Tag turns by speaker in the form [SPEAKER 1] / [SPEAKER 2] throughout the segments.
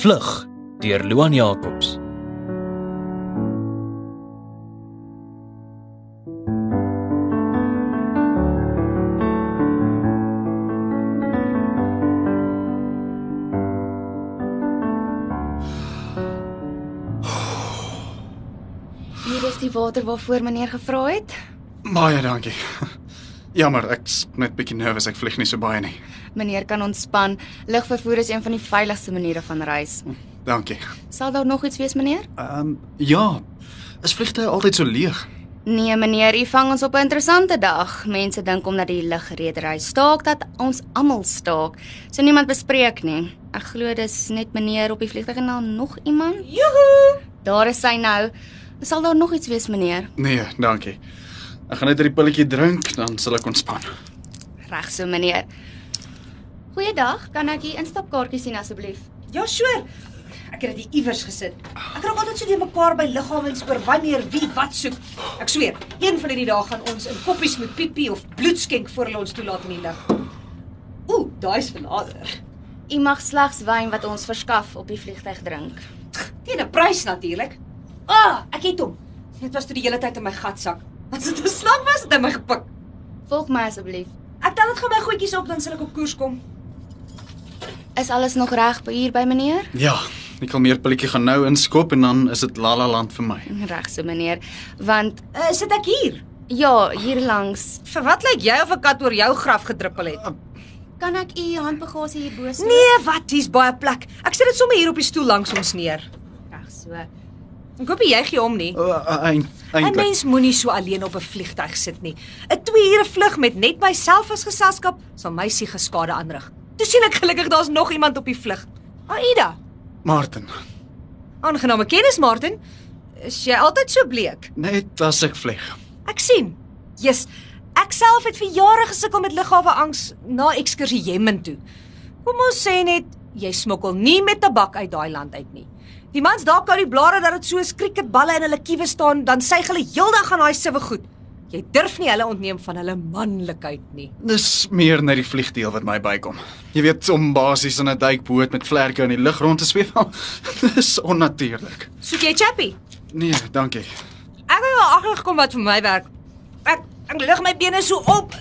[SPEAKER 1] Vlug deur Loan Jacobs.
[SPEAKER 2] Hier is die water waarvoor meneer gevra het.
[SPEAKER 3] Baie dankie. Jammer, ek's net bietjie nervus. Ek vlieg nie so baie nie.
[SPEAKER 2] Meneer kan ontspan. Lugvervoer is een van die veiligste maniere van reis.
[SPEAKER 3] Dankie.
[SPEAKER 2] Sal daar nog iets wees, meneer?
[SPEAKER 3] Ehm um, ja. Is vliegtye altyd so leeg?
[SPEAKER 2] Nee, meneer, u vang ons op 'n interessante dag. Mense dink omdat die lugredery staak dat ons almal staak. So niemand bespreek nie. Ek glo dis net meneer op die vliegtuig en dan nog iemand. Joehoe! Daar is hy nou. Sal daar nog iets wees, meneer?
[SPEAKER 3] Nee, dankie. Ek gaan net hierdie pilletjie drink, dan sal ek ontspan.
[SPEAKER 2] Reg so, meneer. Goeiedag, kan ek u instapkaartjie sien asseblief?
[SPEAKER 4] Ja, sure. Ek het dit iewers gesit. Ek raak altyd so deur mekaar by liggawens oor wanneer wie wat soek. Ek sweer, een van hierdie dae gaan ons in koppies met piepie of bloed skenk voor hulle ons toelaat in die lug. Ooh, daai's verlader.
[SPEAKER 2] U mag slegs wyn wat ons verskaf op die vliegtuig drink.
[SPEAKER 4] Teen 'n prys natuurlik. Ah, ek het hom. Dit was toe die hele tyd in my gatsak. As dit 'n slang was, het hy my gepik.
[SPEAKER 2] Volg my asseblief.
[SPEAKER 4] Ek tel dit gou my goedjies op dan sal ek op koers kom.
[SPEAKER 2] Is alles nog reg by hier by meneer?
[SPEAKER 3] Ja, ek kan meer pilletjie gaan nou inskop en dan is dit Lala land vir my.
[SPEAKER 2] Reg so meneer, want
[SPEAKER 4] Uh, sit ek hier?
[SPEAKER 2] ja, hier langs.
[SPEAKER 4] Vir wat lyk jy of 'n kat oor jou graf gedruppel het?
[SPEAKER 2] Kan ek u handbagasie hier bo stoor?
[SPEAKER 4] Nee, wat, hier's baie plek. Ek sit dit sommer hier op die stoel langs ons neer.
[SPEAKER 2] Reg so.
[SPEAKER 4] Ek hoop nie jy gee hom nie.
[SPEAKER 3] O, uh, eind,
[SPEAKER 4] 'n
[SPEAKER 3] eintlik.
[SPEAKER 4] Mens moenie so alleen op 'n vliegtyg sit nie. 'n 2 ure vlug met net myself as geselskap sal my siege skade aanrig. Toe sien ek gelukkig daar's nog iemand op die vlug. Aida,
[SPEAKER 3] Martin,
[SPEAKER 4] aangename kennis Martin. Is jy altyd so bleek?
[SPEAKER 3] net as ek vlieg.
[SPEAKER 4] Ek sien. Jesus, ek self het vir jare gesukkel met liggawe angs na ekskursie Jemen toe. Kom ons sê net jy smokkel nie met tabak uit daai land uit nie. Die mans daar kou die blare dat dit soos cricketballe in hulle kiewe staan, dan suig hulle heeldag aan daai sewe goed. Jy durf nie hulle ontneem van hulle manlikheid nie.
[SPEAKER 3] Dis meer net die vliegdeel wat my bykom. Jy weet om basies in 'n duikboot met vlerke in die lug rond te sweef. Dis onnatuurlik.
[SPEAKER 4] Soek jy Chappy?
[SPEAKER 3] Nee, dankie.
[SPEAKER 4] Ek wil wel agterkom wat vir my werk. Ek ek lig my bene so op.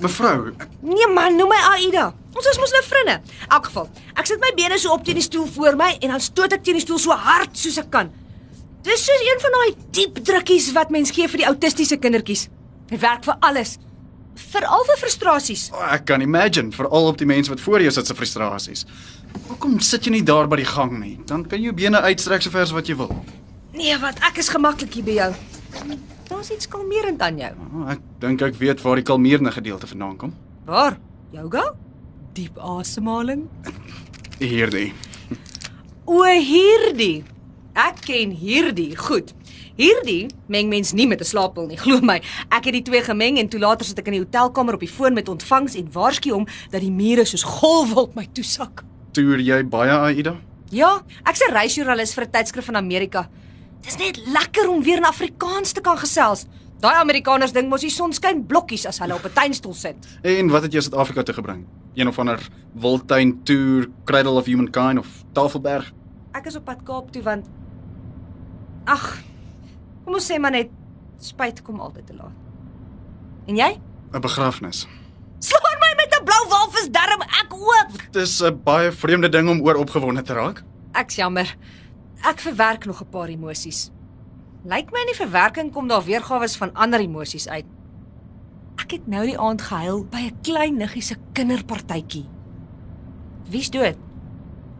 [SPEAKER 3] Mevrou,
[SPEAKER 4] Nee man, noem my Aida. Ons is mos nou vriende. In elk geval, ek sit my bene so op teen die stoel voor my en dan stoot ek teen die stoel so hard soos ek kan. Dis soos een van daai diep drukkies wat mens gee vir die autistiese kindertjies. Dit werk vir alles. Veral vir frustrasies.
[SPEAKER 3] ek kan imagine veral op die mense wat voor jou sit se frustrasies. Hoekom sit jy nie daar by die gang nie? Dan kan jy jou bene uitstrek so ver as wat jy wil.
[SPEAKER 4] Nee, wat ek is gemaklik hier by jou. Daar's iets kalmerend aan jou.
[SPEAKER 3] Ah, Ek dink ek weet waar die kalmeerende gedeelte vandaan kom.
[SPEAKER 4] Waar? Yoga? Diep asemhaling.
[SPEAKER 3] Hierdie.
[SPEAKER 4] O, hierdie. Ek ken hierdie. Goed. Hierdie meng mens nie met 'n slaappil nie, glo my. Ek het die twee gemeng en toe later sit ek in die hotelkamer op die foon met ontvangs en waarsku hom dat die mure soos golwe op my toesak.
[SPEAKER 3] Toer jy baie Aida?
[SPEAKER 4] Ja, ek's 'n reisjoernalis vir 'n tydskrif in Amerika. Dis net lekker om weer in Afrikaans te kan gesels. Daai Amerikaners dink mos die son skyn blokkies as hulle op 'n tuinstoel sit.
[SPEAKER 3] En wat het jou Suid-Afrika toe gebring? Een of ander wildtuin toer, Cradle of Humankind of Tafelberg?
[SPEAKER 4] Ek is op pad Kaap toe want ag, kom ons sê maar net spyt kom altyd te laat. En jy?
[SPEAKER 3] 'n Begrafnis.
[SPEAKER 4] Slaan my met 'n blou walvis darm ek ook.
[SPEAKER 3] Dis 'n baie vreemde ding om oor opgewonde te raak.
[SPEAKER 4] Ek's jammer. Ek verwerk nog 'n paar emosies. Lyk my in die verwerking kom daar weergawe van ander emosies uit. Ek het nou die aand gehuil by 'n klein niggie se kinderpartytjie. Wie's dood?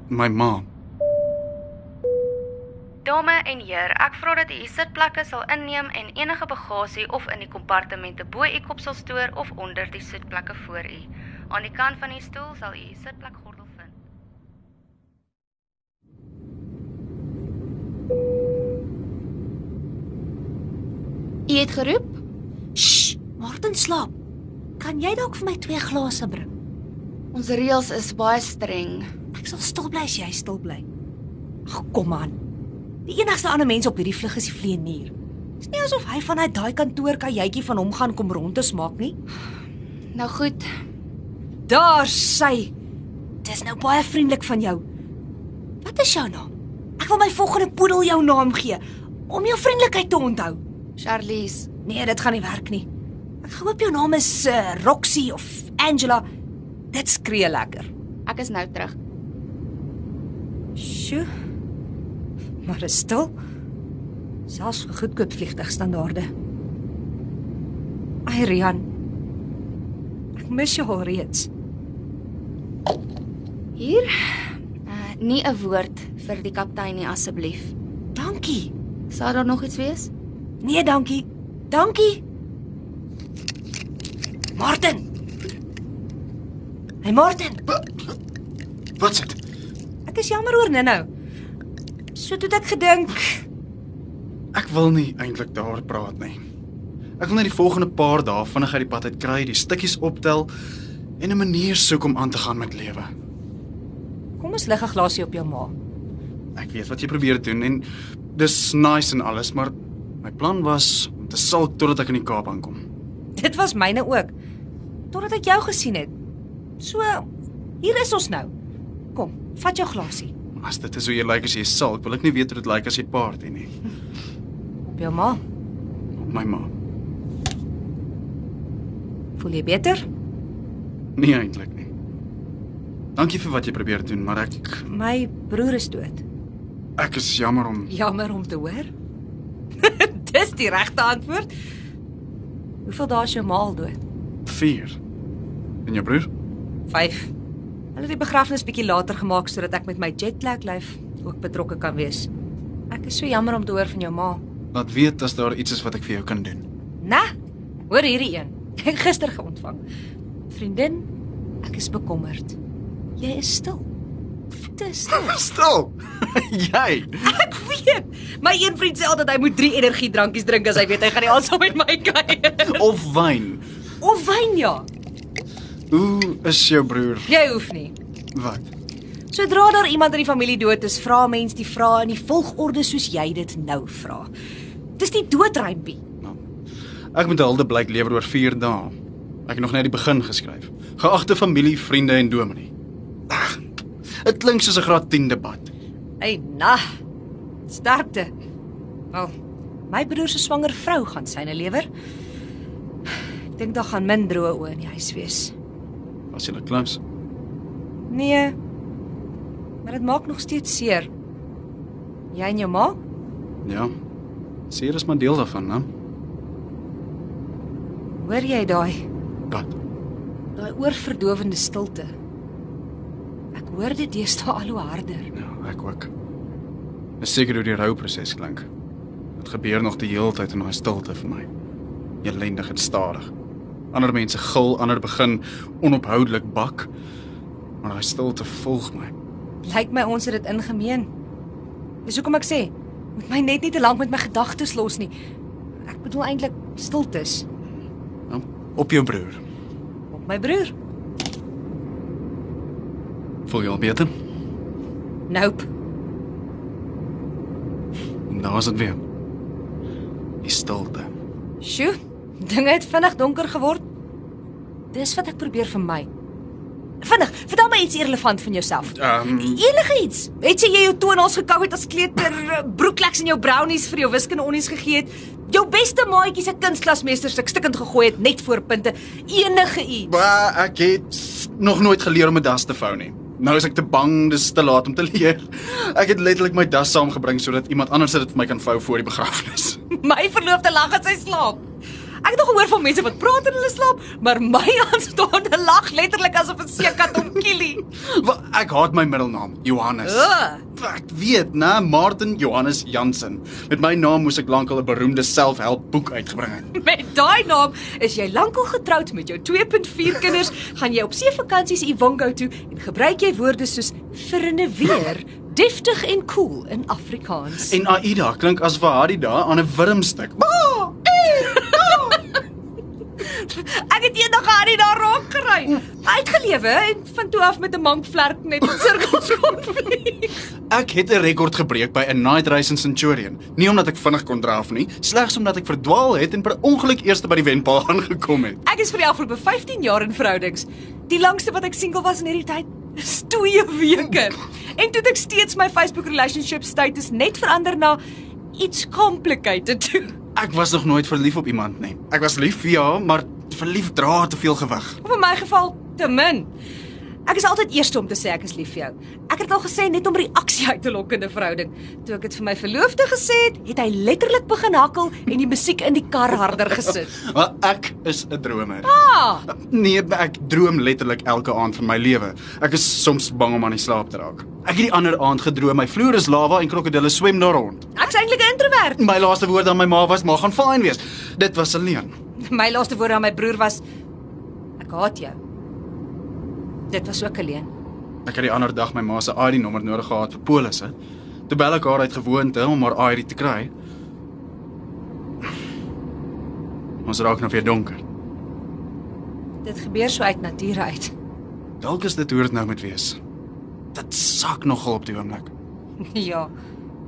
[SPEAKER 3] My ma.
[SPEAKER 2] Dame en heer, ek vra dat u u sitplekke sal inneem en enige bagasie of in die kompartemente bo u kop sal stoor of onder die sitplekke voor u. Aan die kant van die stoel sal u u sitplekgordel vind. U het geroep?
[SPEAKER 4] Ssh, Martin slaap. Kan jy dalk vir my twee glase bring?
[SPEAKER 2] Ons reëls is baie streng.
[SPEAKER 4] Ek sal stil bly as jy stil bly. Ag kom aan. Die enigste ander mens op hierdie vlug is die vleienier. Dis nie asof hy vanuit daai kantoor kajuitjie van hom gaan kom rondes maak nie.
[SPEAKER 2] Nou goed,
[SPEAKER 4] Daar sy. Dis nou baie vriendelik van jou. Wat is jou naam? Ek wil my volgende poedel jou naam gee om jou vriendelikheid te onthou.
[SPEAKER 2] Charlize.
[SPEAKER 4] Nee, dit gaan nie werk nie. Ek hoop jou naam is uh, Roxy of Angela. Dit skree lekker.
[SPEAKER 2] Ek is nou terug.
[SPEAKER 4] Sjoe. Maar is stil. Selfs vir goedkoop vliegtuigstandaarde. Ai Rian. Ek mis jou alreeds.
[SPEAKER 2] Hier. Uh, nie 'n woord vir die kaptein nie asseblief.
[SPEAKER 4] Dankie.
[SPEAKER 2] Sal daar nog iets wees?
[SPEAKER 4] Nee, dankie. Dankie. Martin. Hey Martin.
[SPEAKER 3] Wat sit?
[SPEAKER 4] Ek is jammer oor Ninnou. So toe het ek gedink,
[SPEAKER 3] Ek wil nie eintlik daaroor praat nie. Ek wil net die volgende paar dae vinnig uit die pad uit kry, die stukkies optel en 'n manier soek om aan te gaan met lewe.
[SPEAKER 4] kom ons lig 'n glasie op jou ma.
[SPEAKER 3] Ek weet wat jy probeer doen en dis nice en alles, maar my plan was om te sulk totdat ek in die Kaap aankom.
[SPEAKER 4] Dit was myne ook. Totdat ek jou gesien het. So hier is ons nou. Kom, vat jou glasie
[SPEAKER 3] Maar As dit is hoe jy lyk as jy sulk, wil ek nie weet hoe dit lyk as jy party nie.
[SPEAKER 4] op jou ma.
[SPEAKER 3] Op my ma.
[SPEAKER 4] Voel jy beter?
[SPEAKER 3] Nie eintlik nie. Dankie vir wat jy probeer doen, maar ek
[SPEAKER 4] My broer is dood.
[SPEAKER 3] ek is jammer om
[SPEAKER 4] Jammer om te hoor. Dis die regte antwoord. Hoeveel dae is jou ma al dood?
[SPEAKER 3] 4. En jou broer?
[SPEAKER 4] 5. Hulle het die begrafnis bietjie later gemaak sodat ek met my jetlag lyf ook betrokke kan wees. Ek is so jammer om te hoor van jou ma.
[SPEAKER 3] Laat weet as daar iets is wat ek vir jou kan doen.
[SPEAKER 4] Né? Hoor hierdie een. Ek gister geontvang. Vriendin, ek is bekommerd. Jy is stil. Te stil.
[SPEAKER 3] Stil. jy.
[SPEAKER 4] Ek weet. My een vriend sê altyd hy moet 3 energiedrankies drink as hy weet hy gaan nie aan saam met my kuier.
[SPEAKER 3] Of wyn.
[SPEAKER 4] Of wyn ja.
[SPEAKER 3] Hoe is jou broer?
[SPEAKER 4] Jy hoef nie.
[SPEAKER 3] Wat?
[SPEAKER 4] Sodra daar iemand in die familie dood is, vra mens die vrae in die volgorde soos jy dit nou vra. Dis nie doodrympie.
[SPEAKER 3] Ek moet hulde blyk lewer oor 4 dae. Ek het nog net die begin geskryf. Geagte familie, vriende en dominee. Ag, Dit klink soos 'n graad 10 debat.
[SPEAKER 4] Hey, na. Sterkte. Wel, my broer se swanger vrou gaan syne lewer. Ek dink daar gaan min droë oë in die huis wees.
[SPEAKER 3] Was jy langs?
[SPEAKER 4] Nee. Maar dit maak nog steeds seer. Jy en jou ma?
[SPEAKER 3] Ja. Seer is maar deel daarvan, né?
[SPEAKER 4] Hoor jy daai
[SPEAKER 3] Wat?
[SPEAKER 4] daai oorverdowende stilte? Ek hoor dit deesdae al hoe harder.
[SPEAKER 3] Ja, ek ook. Is seker hoe die rouproses klink. Dit gebeur nog die heeltyd in daai stilte vir my. Elendig en stadig. Ander mense gil, ander begin onophoudelik bak. Maar daai stilte volg my.
[SPEAKER 4] Lyk my ons het dit ingemeen. Dis hoekom ek sê, moet my net nie te lank met my gedagtes los nie. Ek bedoel eintlik stiltes.
[SPEAKER 3] Ja? Op jou broer.
[SPEAKER 4] Op my broer.
[SPEAKER 3] Voel jy al beter?
[SPEAKER 4] Nope.
[SPEAKER 3] Daar's Nou dit weer. Die stilte.
[SPEAKER 4] Sjoe, dinge het vinnig donker geword. Dis wat ek probeer vermy. Vinnig, vertel my iets irrelevant van jouself.
[SPEAKER 3] Ehm um,
[SPEAKER 4] Enige iets. Het jy jy jou tonnels gekou het as kleuter, eh, broekleks en jou brownies vir jou wiskunde onnies gegee het? Jou beste maatjie se kunstklasmeesterstuk stikkend gegooi het net voor punte. Enige iets.
[SPEAKER 3] ba, ek het nog nooit geleer om 'n das te vou nie. Nou is ek te bang dis te laat om te leer. Ek het letterlik my das saamgebring sodat iemand anders dit vir my kan vou voor die begrafnis.
[SPEAKER 4] My verloofde lag as hy slaap. Ek het nog gehoor van mense wat praat en hulle slaap, maar my aanstaande lag letterlik asof 'n seekat hom kielie.
[SPEAKER 3] Wel, ek haat my middelnaam, Johannes.
[SPEAKER 4] Uh.
[SPEAKER 3] Ek weet, né, Martin Johannes Jansen. Met my naam moes ek lankal 'n beroemde selfhelpboek uitgebring het.
[SPEAKER 4] Met daai naam is jy lankal getroud met jou 2.4 kinders, gaan jy op see vakansies Ivango toe en gebruik jy woorde soos virinne weer, deftig en cool in Afrikaans.
[SPEAKER 3] En Aida klink as vir haar die dae aan 'n wurmstuk. Ba!
[SPEAKER 4] Ek het eendag haar nie daar raak gekry. Uitgelewe en van toe af met 'n mank vlerk net in sirkels rondvlieg.
[SPEAKER 3] Ek het 'n rekord gebreek by 'n night race in Centurion. Nie omdat ek vinnig kon draaf nie, slegs omdat ek verdwaal het en per ongeluk eers by die wenpaal aangekom het.
[SPEAKER 4] Ek is vir die afgelope 15 jaar in verhoudings. Die langste wat ek single was in hierdie tyd Dis 2 weke. En toe het ek steeds my Facebook relationship status net verander na iets complicated toe.
[SPEAKER 3] Ek was nog nooit verlief op iemand nie. Ek was lief vir jou, maar verlief dra te veel gewig.
[SPEAKER 4] Of in my geval te min. Ek is altyd eerste om te sê ek is lief vir jou. Ek het dit al gesê net om reaksie uit te lok in 'n verhouding. Toe ek dit vir my verloofde gesê het, het hy letterlik begin hakkel en die musiek in die kar harder gesit.
[SPEAKER 3] Maar ek is 'n dromer.
[SPEAKER 4] Ah,
[SPEAKER 3] Nee, ek droom letterlik elke aand van my lewe. Ek is soms bang om aan die slaap te raak. Ek het die ander aand gedroom my vloer is lava en krokodille swem daar rond.
[SPEAKER 4] ek's eintlik 'n introvert.
[SPEAKER 3] My laaste woord aan my ma was: "Ma gaan fyn wees." Dit was alleen.
[SPEAKER 4] My laaste woorde aan my broer was ek haat jou. Dit was ook alleen.
[SPEAKER 3] Ek het die ander dag my ma se ID-nommer nodig gehad vir polisse. Toe bel ek haar uit gewoonte om haar ID te kry. Ons raak nou weer donker.
[SPEAKER 4] Dit gebeur so uit nature uit.
[SPEAKER 3] Dalk is dit hoe dit nou moet wees. Dit sak nogal op die oomblik.
[SPEAKER 4] ja.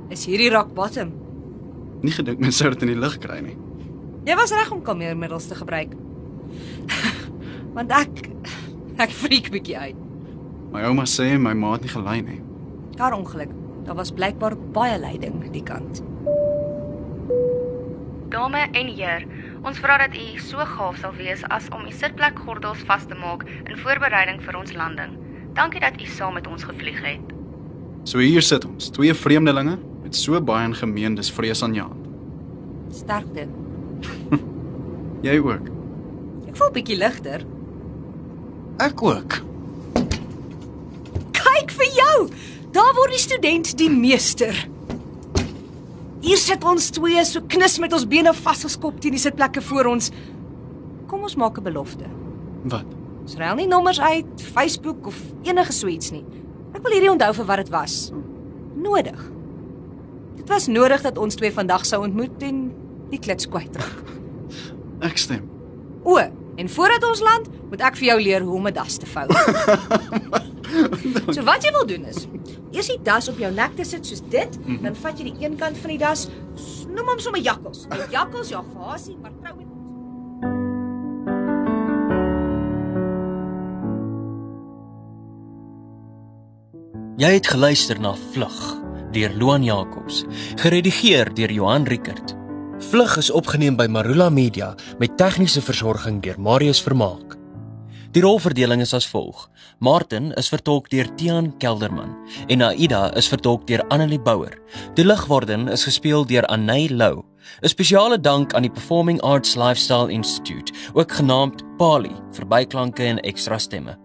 [SPEAKER 4] Is hierdie rock bottom.
[SPEAKER 3] Nie gedink mense sou dit in die lig kry nie.
[SPEAKER 4] Jy was reg om kalmeermiddels te gebruik. Want ek ek freak bietjie uit.
[SPEAKER 3] My ouma sê my ma het nie gelei nie.
[SPEAKER 4] Kar ongeluk. Daar was blykbaar baie leiding die kant.
[SPEAKER 2] Dame en heer, ons vra dat u so gaaf sal wees as om u sitplekgordels vas te maak in voorbereiding vir ons landing. Dankie dat u saam met ons gevlieg het.
[SPEAKER 3] So hier sit ons, twee vreemdelinge met so baie in gemeen, dis vreesaanjaend.
[SPEAKER 4] Sterkte.
[SPEAKER 3] Jy ook.
[SPEAKER 4] Ek voel bietjie ligter.
[SPEAKER 3] Ek ook.
[SPEAKER 4] Kyk vir jou. Daar word die student die meester. Hier sit ons twee so knus met ons bene vasgeskop teen die sitplekke voor ons. Kom ons maak 'n belofte.
[SPEAKER 3] Wat?
[SPEAKER 4] Ons ruil nie nommers uit, Facebook of enige so iets nie. Ek wil hierdie onthou vir wat dit was. Nodig. Dit was nodig dat ons twee vandag sou ontmoet en die klits kwytraak.
[SPEAKER 3] Ek stem.
[SPEAKER 4] O, en voordat ons land, moet ek vir jou leer hoe om 'n das te vou. so wat jy wil doen is, eers die das op jou nek te sit soos dit, mm -hmm. dan vat jy die een kant van die das, s- noem hom sommer jakkels. Die jakkels, ja, fasie, maar trou met
[SPEAKER 1] Jy het geluister na Vlug deur Loan Jacobs, geredigeer deur Johan Rickert.
[SPEAKER 5] Vlug is opgeneem by Marula Media met tegniese versorging deur Marius Vermaak.
[SPEAKER 1] Die rolverdeling is as volg: Martin is vertolk deur Tiaan Kelderman en Aida is vertolk deur Annelie Bouwer. Die ligworden is gespeel deur Anay Lou. 'n Spesiale dank aan die Performing Arts Lifestyle Institute, ook genaamd PALI, vir byklanke en ekstra stemme.